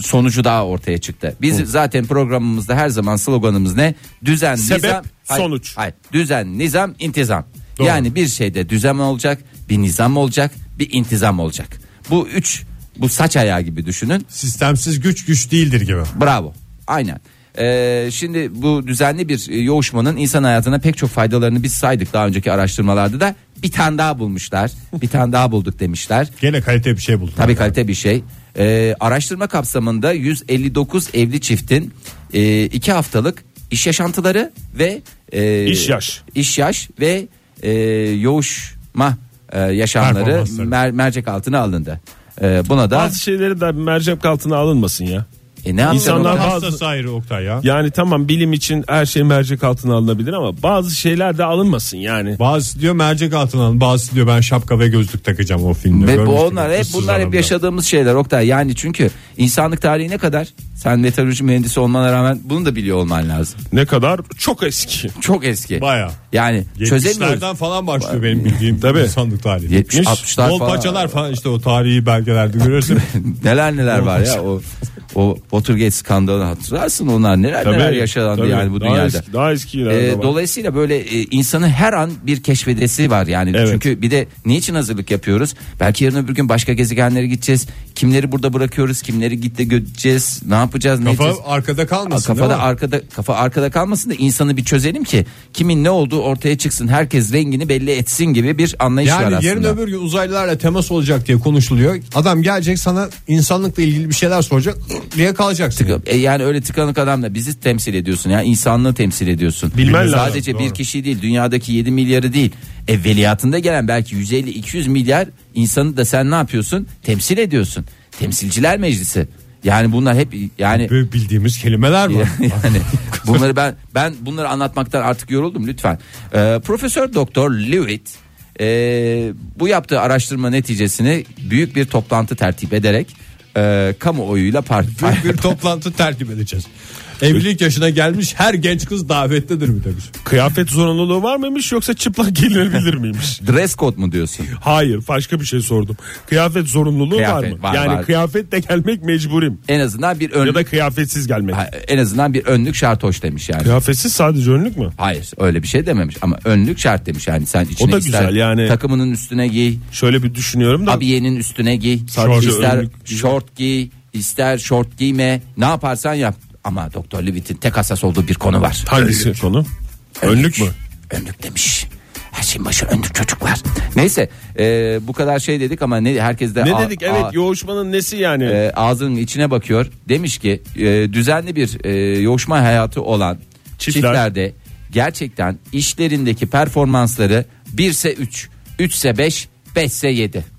Speaker 4: sonucu daha ortaya çıktı. Biz zaten programımızda her zaman sloganımız ne? Düzen,
Speaker 3: Sebep,
Speaker 4: nizam, hayır,
Speaker 3: sonuç.
Speaker 4: Hayır, düzen, nizam, intizam. Yani bir şeyde düzen olacak, bir nizam olacak, bir intizam olacak. Bu üç, bu saç ayağı gibi düşünün.
Speaker 2: Sistemsiz güç güç değildir gibi.
Speaker 4: Bravo. Aynen. Ee, şimdi bu düzenli bir e, yoğuşmanın insan hayatına pek çok faydalarını biz saydık daha önceki araştırmalarda da bir tane daha bulmuşlar. bir tane daha bulduk demişler.
Speaker 2: Gene kalite bir şey bulduk.
Speaker 4: Tabii kalite bir şey. Ee, araştırma kapsamında 159 evli çiftin 2 haftalık iş yaşantıları ve e,
Speaker 3: İş yaş.
Speaker 4: iş yaş ve e, yoğuşma e, yaşamları
Speaker 2: Performansları.
Speaker 4: mer- mercek altına alındı. Ee, buna da
Speaker 3: Bazı şeyleri de mercek altına alınmasın ya.
Speaker 4: E ne yapacaksın?
Speaker 3: İnsanlar
Speaker 4: o kadar?
Speaker 3: bazı-
Speaker 2: Hastası ayrı Oktay ya.
Speaker 3: Yani tamam bilim için her şey mercek altına alınabilir ama bazı şeyler de alınmasın yani.
Speaker 2: Bazısı diyor mercek altına alın. Bazısı diyor ben şapka ve gözlük takacağım o filmde.
Speaker 4: Ve bu
Speaker 2: Görmüştüm
Speaker 4: onlar
Speaker 2: ben,
Speaker 4: hep
Speaker 2: ıssız
Speaker 4: bunlar hep
Speaker 2: adamda.
Speaker 4: yaşadığımız şeyler Oktay. Yani çünkü insanlık tarihi ne kadar? Sen meteoroloji mühendisi olmana rağmen bunu da biliyor olman lazım.
Speaker 3: Ne kadar çok eski.
Speaker 4: Çok eski.
Speaker 2: Baya.
Speaker 4: Yani çözemiyoruz.
Speaker 2: 70'lerden falan başlıyor benim bildiğim tabii. insanlık tarihi.
Speaker 4: 70, 60'lar
Speaker 2: Bol
Speaker 4: falan.
Speaker 2: paçalar falan işte o tarihi belgelerde görürsün.
Speaker 4: neler neler var ya o o Watergate skandalını hatırlarsın onlar neler neler yaşandı
Speaker 3: tabii.
Speaker 4: yani bu
Speaker 3: Daha
Speaker 4: dünyada.
Speaker 3: eski- daha eskilerde
Speaker 4: Ee,
Speaker 3: var.
Speaker 4: dolayısıyla böyle e, insanın her an bir keşfedesi var yani.
Speaker 3: Evet.
Speaker 4: Çünkü bir de niçin hazırlık yapıyoruz? Belki yarın öbür gün başka gezegenlere gideceğiz. Kimleri burada bırakıyoruz? Kimleri gitti göreceğiz? Ne yapacağız? Ne
Speaker 2: Kafa
Speaker 4: edeceğiz?
Speaker 2: arkada kalmasın
Speaker 4: Aa, kafada
Speaker 2: değil mi?
Speaker 4: arkada kafa arkada kalmasın da insanı bir çözelim ki kimin ne olduğu ortaya çıksın. Herkes rengini belli etsin gibi bir anlayış var
Speaker 2: yani
Speaker 4: aslında.
Speaker 2: yarın öbür gün uzaylılarla temas olacak diye konuşuluyor. Adam gelecek sana insanlıkla ilgili bir şeyler soracak diye kalacaksın.
Speaker 4: Tıkı- e, yani öyle tıkanık adamla bizi temsil ediyorsun ya insanlığı temsil ediyorsun.
Speaker 3: Bilmen lazım,
Speaker 4: Sadece
Speaker 2: doğru.
Speaker 4: bir kişi değil dünyadaki 7 milyarı değil. Evveliyatında gelen belki 150-200 milyar insanı da sen ne yapıyorsun? Temsil ediyorsun. Temsilciler meclisi. Yani bunlar hep yani
Speaker 2: Böyle bildiğimiz kelimeler var.
Speaker 4: yani bunları ben ben bunları anlatmaktan artık yoruldum lütfen. Ee, Profesör Doktor Lewitt e, bu yaptığı araştırma neticesini büyük bir toplantı tertip ederek e, kamuoyuyla par-
Speaker 2: Büyük bir toplantı tertip edeceğiz. Evlilik yaşına gelmiş her genç kız davetlidir mi demiş.
Speaker 3: Kıyafet zorunluluğu var mıymış yoksa çıplak gelinebilir miymiş?
Speaker 4: dress code mu diyorsun?
Speaker 3: Hayır başka bir şey sordum. Kıyafet zorunluluğu var
Speaker 4: Kıyafet
Speaker 3: mı?
Speaker 4: var,
Speaker 3: yani
Speaker 4: var.
Speaker 3: kıyafetle gelmek mecburim.
Speaker 4: En azından bir önlük
Speaker 3: Ya da kıyafetsiz gelmek.
Speaker 4: Ha, en azından bir önlük şart hoş demiş yani.
Speaker 3: Kıyafetsiz sadece önlük mü?
Speaker 4: Hayır öyle bir şey dememiş ama önlük şart demiş yani sen içine
Speaker 3: O da
Speaker 4: ister
Speaker 3: güzel yani.
Speaker 4: takımının üstüne giy,
Speaker 3: Şöyle bir düşünüyorum da
Speaker 4: abiyenin üstüne giy,
Speaker 3: Sadece
Speaker 4: ister
Speaker 3: önlük değil.
Speaker 4: şort giy, ister şort giyme, ne yaparsan yap. Ama Doktor Levitt'in tek hassas olduğu bir konu var.
Speaker 3: hangisi konu? Önlük mü?
Speaker 4: Önlük demiş. Her şeyin başı önlük çocuklar. Neyse e, bu kadar şey dedik ama ne herkes de
Speaker 3: Ne
Speaker 4: a-
Speaker 3: dedik?
Speaker 4: a-
Speaker 3: Evet yoğuşmanın nesi yani?
Speaker 4: e, ağzının içine bakıyor. Demiş ki e, düzenli bir e, yoğuşma hayatı olan
Speaker 3: Çiftler.
Speaker 4: çiftlerde gerçekten işlerindeki performansları 1 ise 3, 3 ise 5, 5 ise 7.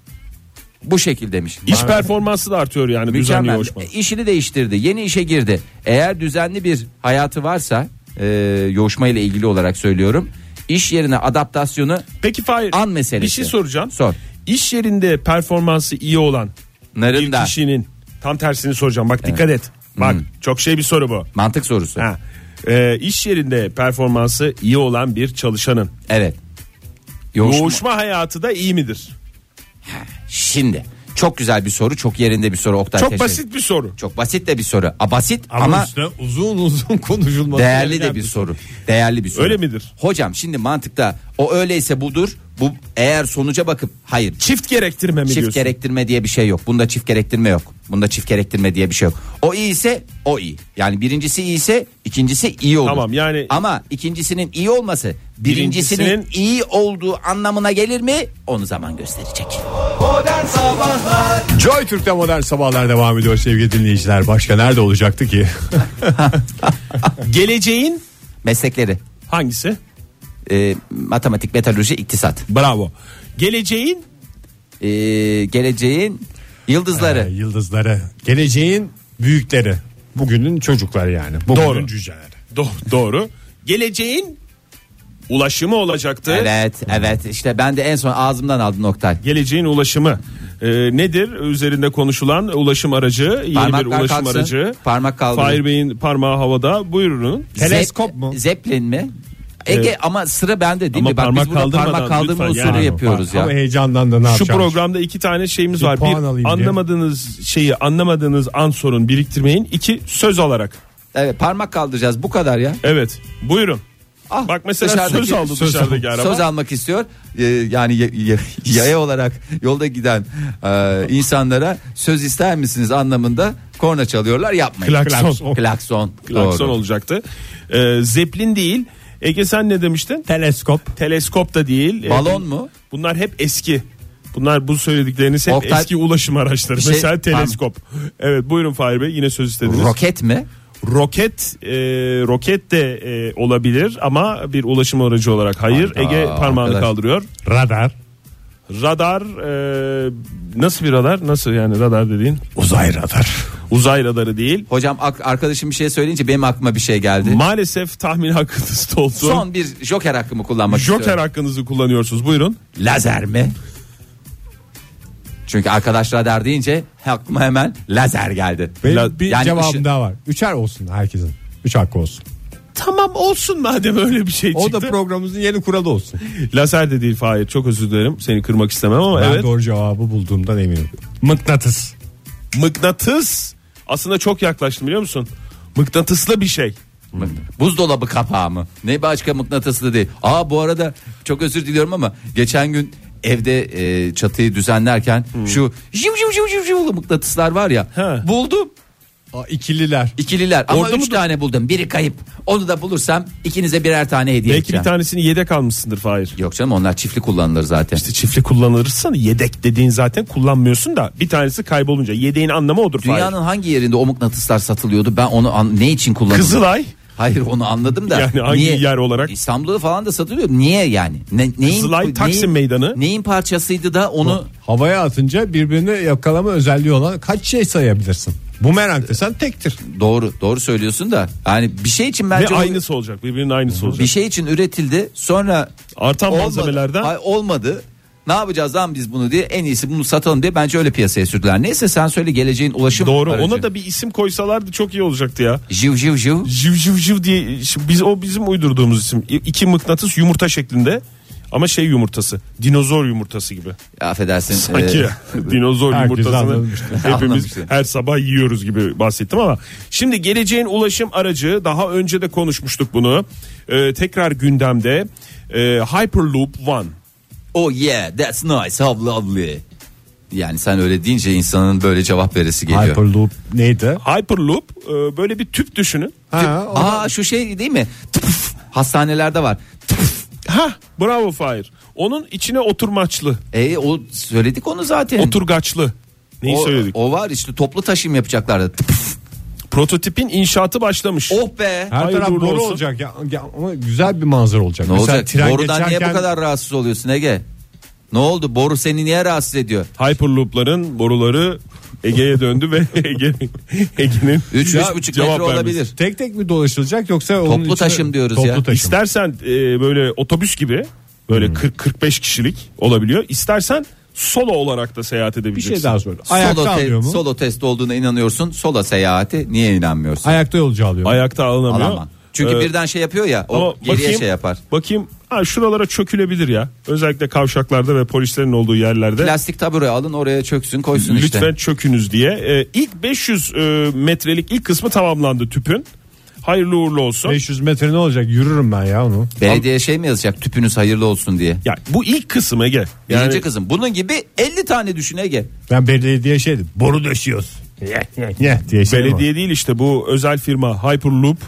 Speaker 4: Bu şekil demiş.
Speaker 3: İş performansı da artıyor yani düzenli
Speaker 4: Mükemmel.
Speaker 3: yoğuşma.
Speaker 4: E, İşini değiştirdi. Yeni işe girdi. Eğer düzenli bir hayatı varsa e, yoğuşma ile ilgili olarak söylüyorum. İş yerine adaptasyonu
Speaker 3: Peki Fahir
Speaker 4: An meselesi.
Speaker 3: bir şey soracağım.
Speaker 4: Sor.
Speaker 3: İş yerinde performansı iyi olan bir
Speaker 4: narın da
Speaker 3: kişinin tam tersini soracağım. Bak dikkat et. Bak
Speaker 4: Hmm.
Speaker 3: çok şey bir soru bu.
Speaker 4: mantık sorusu.
Speaker 3: Ha. Ee, iş yerinde performansı iyi olan bir çalışanın
Speaker 4: Evet.
Speaker 3: yoğuşma, hayatı da iyi midir?
Speaker 4: Şimdi çok güzel bir soru, çok yerinde bir soru Oktay.
Speaker 3: Çok
Speaker 4: teşekkür-
Speaker 3: basit bir soru.
Speaker 4: Çok basit de bir soru. A, basit
Speaker 2: Ama,
Speaker 4: ama,
Speaker 2: üstüne uzun uzun konuşulması.
Speaker 4: değerli
Speaker 2: gereken
Speaker 4: de bir soru. Değerli bir soru.
Speaker 3: Öyle midir?
Speaker 4: Hocam şimdi mantıkta o öyleyse budur. Bu eğer sonuca bakıp hayır. Çift
Speaker 3: Çift gerektirme mi diyorsun?
Speaker 4: gerektirme diye bir şey yok. Bunda çift gerektirme yok. Bunda çift gerektirme diye bir şey yok. O iyi ise o iyi. Yani birincisi iyi ise ikincisi iyi olur.
Speaker 3: Tamam, yani-
Speaker 4: Ama ikincisinin iyi olması birincisinin,
Speaker 3: Birincisinin-
Speaker 4: iyi olduğu anlamına gelir mi? Onu zaman gösterecek.
Speaker 2: Joy Türk'te modern sabahlar devam ediyor sevgili dinleyiciler. Başka nerede olacaktı ki?
Speaker 3: Geleceğin
Speaker 4: Meslekleri.
Speaker 3: hangisi?
Speaker 4: e, matematik, metalürji, iktisat.
Speaker 3: Bravo. Geleceğin
Speaker 4: E, geleceğin yıldızları.
Speaker 2: Ee, yıldızları. Geleceğin büyükleri. Bugünün çocukları yani. Bugünün
Speaker 3: Doğru.
Speaker 2: cüceleri.
Speaker 3: Do- doğru. Geleceğin ulaşımı olacaktı.
Speaker 4: Evet, evet. işte ben de en son ağzımdan aldım Oktay.
Speaker 3: Geleceğin ulaşımı Ee, nedir? Üzerinde konuşulan ulaşım aracı, yeni bir
Speaker 4: Parmaklar
Speaker 3: ulaşım
Speaker 4: kalksın,
Speaker 3: aracı.
Speaker 4: parmak kaldırın.
Speaker 3: Fahir Bey'in parmağı havada. Buyurun.
Speaker 2: Teleskop
Speaker 4: Zep-
Speaker 2: mu?
Speaker 4: Zeppelin mi? Ege ama sıra bende değil
Speaker 3: Ama
Speaker 4: mi? Bak
Speaker 3: parmak
Speaker 4: biz burada parmak
Speaker 3: kaldırmadan
Speaker 4: kaldırma
Speaker 3: lütfen
Speaker 4: usulü
Speaker 3: yani.
Speaker 4: yapıyoruz ya.
Speaker 2: Ama heyecandan da ne
Speaker 3: Şu
Speaker 2: yapacağım?
Speaker 3: programda iki tane şeyimiz
Speaker 2: Bir
Speaker 3: var.
Speaker 2: puan alayım
Speaker 3: Bir
Speaker 2: diye.
Speaker 3: anlamadığınız şeyi anlamadığınız an sorun biriktirmeyin. İki söz alarak.
Speaker 4: Evet, parmak kaldıracağız bu kadar ya.
Speaker 3: Evet. Buyurun.
Speaker 4: Ah,
Speaker 3: Bak mesela
Speaker 4: dışarıdaki-
Speaker 3: söz aldı
Speaker 2: söz
Speaker 3: dışarıdaki araba.
Speaker 4: Söz almak istiyor. Ee, yani ya- ya- yaya olarak yolda giden e, insanlara söz ister misiniz anlamında korna çalıyorlar yapmayın.
Speaker 3: Klakson.
Speaker 4: Klakson.
Speaker 3: Klakson
Speaker 4: Doğru.
Speaker 3: olacaktı. Ee, zeplin değil. Ege sen ne demiştin?
Speaker 2: Teleskop.
Speaker 3: Teleskop da değil.
Speaker 4: Balon
Speaker 3: Ee,
Speaker 4: mu?
Speaker 3: Bunlar hep eski. Bunlar bu söyledikleriniz hep
Speaker 4: Oktay-
Speaker 3: eski ulaşım araçları.
Speaker 4: Bir şey-
Speaker 3: Mesela teleskop. Evet buyurun Fahir Bey yine söz istediniz.
Speaker 4: Roket mi?
Speaker 3: roket e, roket de e, olabilir ama bir ulaşım aracı olarak hayır.
Speaker 4: Hayda,
Speaker 3: Ege parmağını
Speaker 4: arkadaş.
Speaker 3: kaldırıyor.
Speaker 2: Radar.
Speaker 3: Radar e, nasıl bir radar? Nasıl yani radar dediğin?
Speaker 2: Uzay radar.
Speaker 3: Uzay radarı değil.
Speaker 4: Hocam ak- arkadaşım bir şey söyleyince benim aklıma bir şey geldi.
Speaker 3: Maalesef tahmin hakkınız doldu.
Speaker 4: Son bir joker hakkımı kullanmak
Speaker 3: Joker
Speaker 4: istiyorum.
Speaker 3: hakkınızı kullanıyorsunuz. Buyurun.
Speaker 4: Lazer mi? Çünkü arkadaşlar der deyince aklıma hemen lazer geldi.
Speaker 2: Benim
Speaker 3: La-
Speaker 2: bir
Speaker 4: yani
Speaker 2: cevabım
Speaker 4: ışın-
Speaker 2: daha var. Üçer olsun herkesin. Üç hakkı olsun.
Speaker 3: Tamam olsun madem öyle bir şey
Speaker 2: O
Speaker 3: çıktı.
Speaker 2: da programımızın yeni kuralı olsun.
Speaker 3: Lazer de değil Fahir. Çok özür dilerim. Seni kırmak istemem ama
Speaker 2: Ben
Speaker 3: evet.
Speaker 2: doğru cevabı bulduğumdan eminim. Mıknatıs.
Speaker 3: Mıknatıs. Aslında çok yaklaştım biliyor musun? Mıknatıslı bir şey.
Speaker 4: Buzdolabı kapağı mı? Ne başka mıknatıslı değil. Aa bu arada çok özür diliyorum ama geçen gün evde e, çatıyı düzenlerken
Speaker 3: Hmm.
Speaker 4: şu jiv jiv jiv jiv jivli mıknatıslar var ya.
Speaker 3: He.
Speaker 4: Buldum.
Speaker 2: Aa, ikililer.
Speaker 4: İkililer ama
Speaker 3: Orada
Speaker 4: üç
Speaker 3: mı-
Speaker 4: tane buldum. Biri kayıp. Onu da bulursam ikinize birer tane hediye
Speaker 3: Belki bir
Speaker 4: edeceğim.
Speaker 3: tanesini yedek almışsındır Fahir.
Speaker 4: Yok canım onlar çiftli kullanılır zaten.
Speaker 3: İşte çiftli kullanırsan yedek dediğin zaten kullanmıyorsun da bir tanesi kaybolunca yedeğin anlamı odur Fahir.
Speaker 4: Dünyanın hangi yerinde o mıknatıslar satılıyordu? Ben onu an- ne için kullanıldı?
Speaker 3: Kızılay.
Speaker 4: Hayır onu anladım da.
Speaker 3: Yani hangi
Speaker 4: niye?
Speaker 3: yer olarak?
Speaker 4: İstanbul'da falan da satılıyor. Niye yani? Ne, neyin,
Speaker 3: Kızılay, Taksim
Speaker 4: neyin-
Speaker 3: Meydanı.
Speaker 4: Neyin parçasıydı da onu
Speaker 2: Havaya atınca birbirini yakalama özelliği olan kaç şey sayabilirsin? Bumerang desen tektir.
Speaker 4: doğru doğru söylüyorsun da. Yani bir şey için
Speaker 3: Ve
Speaker 4: bence o-
Speaker 3: aynısı olacak. Birbirinin aynısı olacak.
Speaker 4: bir şey için üretildi. Sonra
Speaker 3: Artan
Speaker 4: olmadı.
Speaker 3: malzemelerden
Speaker 4: Hayır, olmadı. Ne yapacağız lan biz bunu diye en iyisi bunu satalım diye bence öyle piyasaya sürdüler. Neyse sen söyle geleceğin ulaşım
Speaker 3: doğru.
Speaker 4: aracı.
Speaker 3: Ona da bir isim koysalardı çok iyi olacaktı ya.
Speaker 4: jiv jiv jiv.
Speaker 3: Jiv jiv jiv diye şimdi biz o bizim uydurduğumuz isim. İ- İki mıknatıs yumurta şeklinde. Ama şey yumurtası. Dinozor yumurtası gibi.
Speaker 4: Ee, Affedersin.
Speaker 3: Sanki
Speaker 4: Ee,
Speaker 3: dinozor
Speaker 2: Herkes
Speaker 3: yumurtasını
Speaker 2: anlamıştır.
Speaker 3: hepimiz
Speaker 4: Anlamıştır.
Speaker 3: her sabah yiyoruz gibi bahsettim ama şimdi geleceğin ulaşım aracı daha önce de konuşmuştuk bunu. Ee, tekrar gündemde Ee, Hyperloop One.
Speaker 4: oh yeah that's nice how lovely. Yani sen öyle deyince insanın böyle cevap veresi geliyor.
Speaker 2: Hyperloop neydi?
Speaker 3: Hyperloop e, böyle bir tüp düşünün.
Speaker 2: Ha, o-
Speaker 4: Aa şu şey değil mi? Tıpıf. Hastanelerde var. Tıpıf.
Speaker 3: Ha bravo Fahir. Onun içine oturmaçlı,
Speaker 4: E o söyledik onu zaten.
Speaker 3: oturgaçlı. Neyi
Speaker 4: o,
Speaker 3: söyledik?
Speaker 4: o var işte toplu taşım yapacaklardı. Tıpıf.
Speaker 3: Prototipin inşaatı başlamış.
Speaker 4: Oh be.
Speaker 2: Her
Speaker 3: Hayır,
Speaker 2: taraf
Speaker 3: doğru
Speaker 2: boru
Speaker 3: olsun.
Speaker 2: olacak ya, Ya ama güzel bir manzara olacak.
Speaker 4: Ne
Speaker 2: Mesela
Speaker 4: olacak?
Speaker 2: tren
Speaker 4: Borudan niye
Speaker 2: geçerken-
Speaker 4: bu kadar rahatsız oluyorsun Ege? Ne oldu? Boru seni niye rahatsız ediyor?
Speaker 3: Hyperloop'ların boruları Ege'ye döndü ve Ege, Ege'nin
Speaker 4: 3
Speaker 3: Ya,
Speaker 4: 3,5
Speaker 3: cevap
Speaker 4: metre
Speaker 3: vermiş.
Speaker 4: olabilir.
Speaker 2: Tek tek mi dolaşılacak yoksa onun
Speaker 4: Toplu
Speaker 2: içine-
Speaker 4: taşım diyoruz
Speaker 2: toplu
Speaker 4: ya.
Speaker 2: Taşım.
Speaker 3: İstersen e, böyle otobüs gibi
Speaker 4: Hmm.
Speaker 3: böyle 40-45 kişilik olabiliyor. İstersen solo olarak da seyahat
Speaker 2: bir
Speaker 3: edebileceksin.
Speaker 2: şey daha sor. Ayakta
Speaker 4: Solo, te-
Speaker 2: alıyor mu?
Speaker 4: solo test olduğuna inanıyorsun. Sola seyahati niye inanmıyorsun?
Speaker 2: Ayakta yolcu alıyor mu?
Speaker 3: Ayakta alınamıyor.
Speaker 4: Alamam. Çünkü
Speaker 3: Ee,
Speaker 4: birden şey yapıyor ya.
Speaker 3: ama
Speaker 4: O geriye şey yapar.
Speaker 3: Bakayım ha, şuralara çökülebilir ya. Özellikle kavşaklarda ve polislerin olduğu yerlerde.
Speaker 4: Plastik tabure alın oraya çöksün koysun
Speaker 3: Lütfen
Speaker 4: işte.
Speaker 3: çökünüz diye. Ee, ilk 500 e, metrelik ilk kısmı tamamlandı tüpün. Hayırlı uğurlu olsun.
Speaker 2: 500 metre ne olacak? Yürürüm ben ya onu.
Speaker 4: Belediye şey mi yazacak tüpünüz hayırlı olsun diye.
Speaker 3: Ya bu ilk kısım Ege.
Speaker 4: Birinci
Speaker 3: Yani
Speaker 4: kızım bunun gibi 50 tane düşün Ege.
Speaker 2: Ben belediye şey dedim. Boru döşüyoruz. Ne diye şey var.
Speaker 3: belediye değil işte bu özel firma Hyperloop e,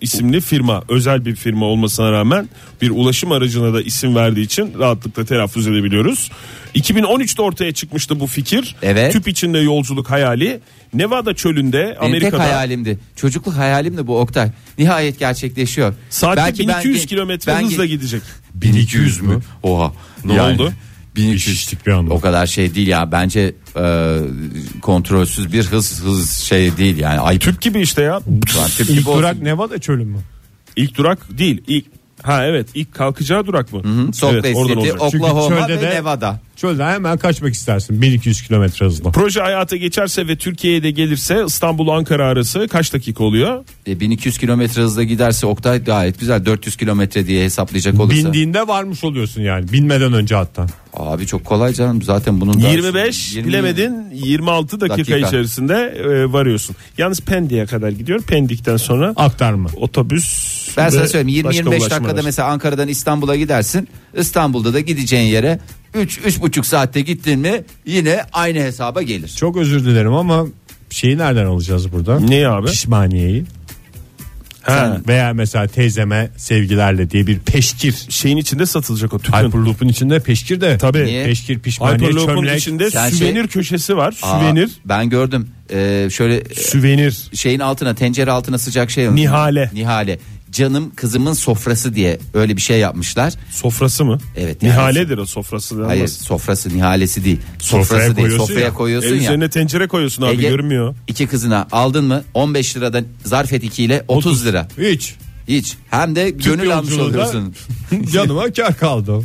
Speaker 3: isimli firma özel bir firma olmasına rağmen bir ulaşım aracına da isim verdiği için rahatlıkla telaffuz edebiliyoruz. 2013'te ortaya çıkmıştı bu fikir.
Speaker 4: Evet.
Speaker 3: Tüp içinde yolculuk hayali Nevada çölünde
Speaker 4: Benim
Speaker 3: Amerika'da
Speaker 4: tek hayalimdi. Çocukluk hayalimdi bu Oktay. Nihayet gerçekleşiyor.
Speaker 3: saatte
Speaker 4: Belki ben
Speaker 3: 1200
Speaker 4: gen-
Speaker 3: kilometre
Speaker 4: ben gen-
Speaker 3: hızla gidecek.
Speaker 4: 1200 mü? Oha.
Speaker 3: Ne oldu?
Speaker 4: 1200
Speaker 2: İşittik bir anda.
Speaker 4: o kadar şey değil ya bence e, kontrolsüz bir hız hız şey değil yani ayıp.
Speaker 3: Tüp gibi işte ya.
Speaker 4: Ulan tüp gibi
Speaker 2: İlk
Speaker 4: olsun.
Speaker 2: durak Nevada çölü mü?
Speaker 3: İlk durak değil. İlk ha evet ilk kalkacağı durak mı? Hı
Speaker 4: Salt Lake City,
Speaker 2: Çünkü
Speaker 4: Oklahoma
Speaker 2: çölde
Speaker 4: ve
Speaker 2: de-
Speaker 4: Nevada.
Speaker 2: Çölden hemen kaçmak istersin 1200 kilometre hızla.
Speaker 3: Proje hayata geçerse ve Türkiye'ye de gelirse İstanbul Ankara arası kaç dakika oluyor?
Speaker 4: E, 1200 kilometre hızla giderse Oktay gayet güzel 400 kilometre diye hesaplayacak olursa.
Speaker 2: Bindiğinde varmış oluyorsun yani binmeden önce hatta.
Speaker 4: Abi çok kolay canım zaten bunun da-
Speaker 3: 25
Speaker 4: 20
Speaker 3: bilemedin 26 dakika,
Speaker 4: Dakika.
Speaker 3: içerisinde e, varıyorsun. Yalnız Pendik'e kadar gidiyor. Pendik'ten sonra
Speaker 2: Aktarma.
Speaker 3: otobüs
Speaker 4: Ben
Speaker 3: ve
Speaker 4: sana söyleyeyim
Speaker 3: başka
Speaker 4: 20-25
Speaker 3: ulaşım
Speaker 4: dakikada
Speaker 3: araçları.
Speaker 4: mesela Ankara'dan İstanbul'a gidersin. İstanbul'da da gideceğin yere 3-3,5 saatte gittin mi yine aynı hesaba gelir.
Speaker 2: Çok özür dilerim ama şeyi nereden alacağız burada?
Speaker 3: Neyi abi?
Speaker 2: Pişmaniyeyi.
Speaker 3: Ha,
Speaker 2: Veya mesela teyzeme sevgilerle diye bir peşkir.
Speaker 3: şeyin içinde satılacak o tüpün.
Speaker 2: Hyperloop'un içinde peşkir de.
Speaker 3: Tabii.
Speaker 4: Niye?
Speaker 2: Peşkir, pişmaniye,
Speaker 3: Hyperloop'un
Speaker 2: çömlek.
Speaker 3: içinde
Speaker 4: Sen şey-
Speaker 3: süvenir köşesi var.
Speaker 4: Aa,
Speaker 3: Süvenir.
Speaker 4: ben gördüm. Ee, şöyle e,
Speaker 3: Süvenir.
Speaker 4: şeyin altına tencere altına sıcak şey.
Speaker 3: Nihale.
Speaker 4: Nihale. canım kızımın sofrası diye öyle bir şey yapmışlar.
Speaker 3: Sofrası mı?
Speaker 4: Evet, yani-
Speaker 3: Nihaledir o sofrası. denmez.
Speaker 4: Hayır sofrası nihalesi değil. Sofrası
Speaker 3: Sofraya
Speaker 4: değil
Speaker 3: koyuyorsun
Speaker 4: sofraya
Speaker 3: ya.
Speaker 4: koyuyorsun
Speaker 3: El
Speaker 4: ya.
Speaker 3: üzerine tencere koyuyorsun abi
Speaker 4: Ege,
Speaker 3: görünmüyor.
Speaker 4: İki kızına aldın mı 15 liradan zarf et 2 ile 30 lira.
Speaker 2: Hiç.
Speaker 4: Hiç. Hem de gönül almış
Speaker 2: yolculuğunda
Speaker 4: oluyorsun.
Speaker 2: Canıma kar kaldı.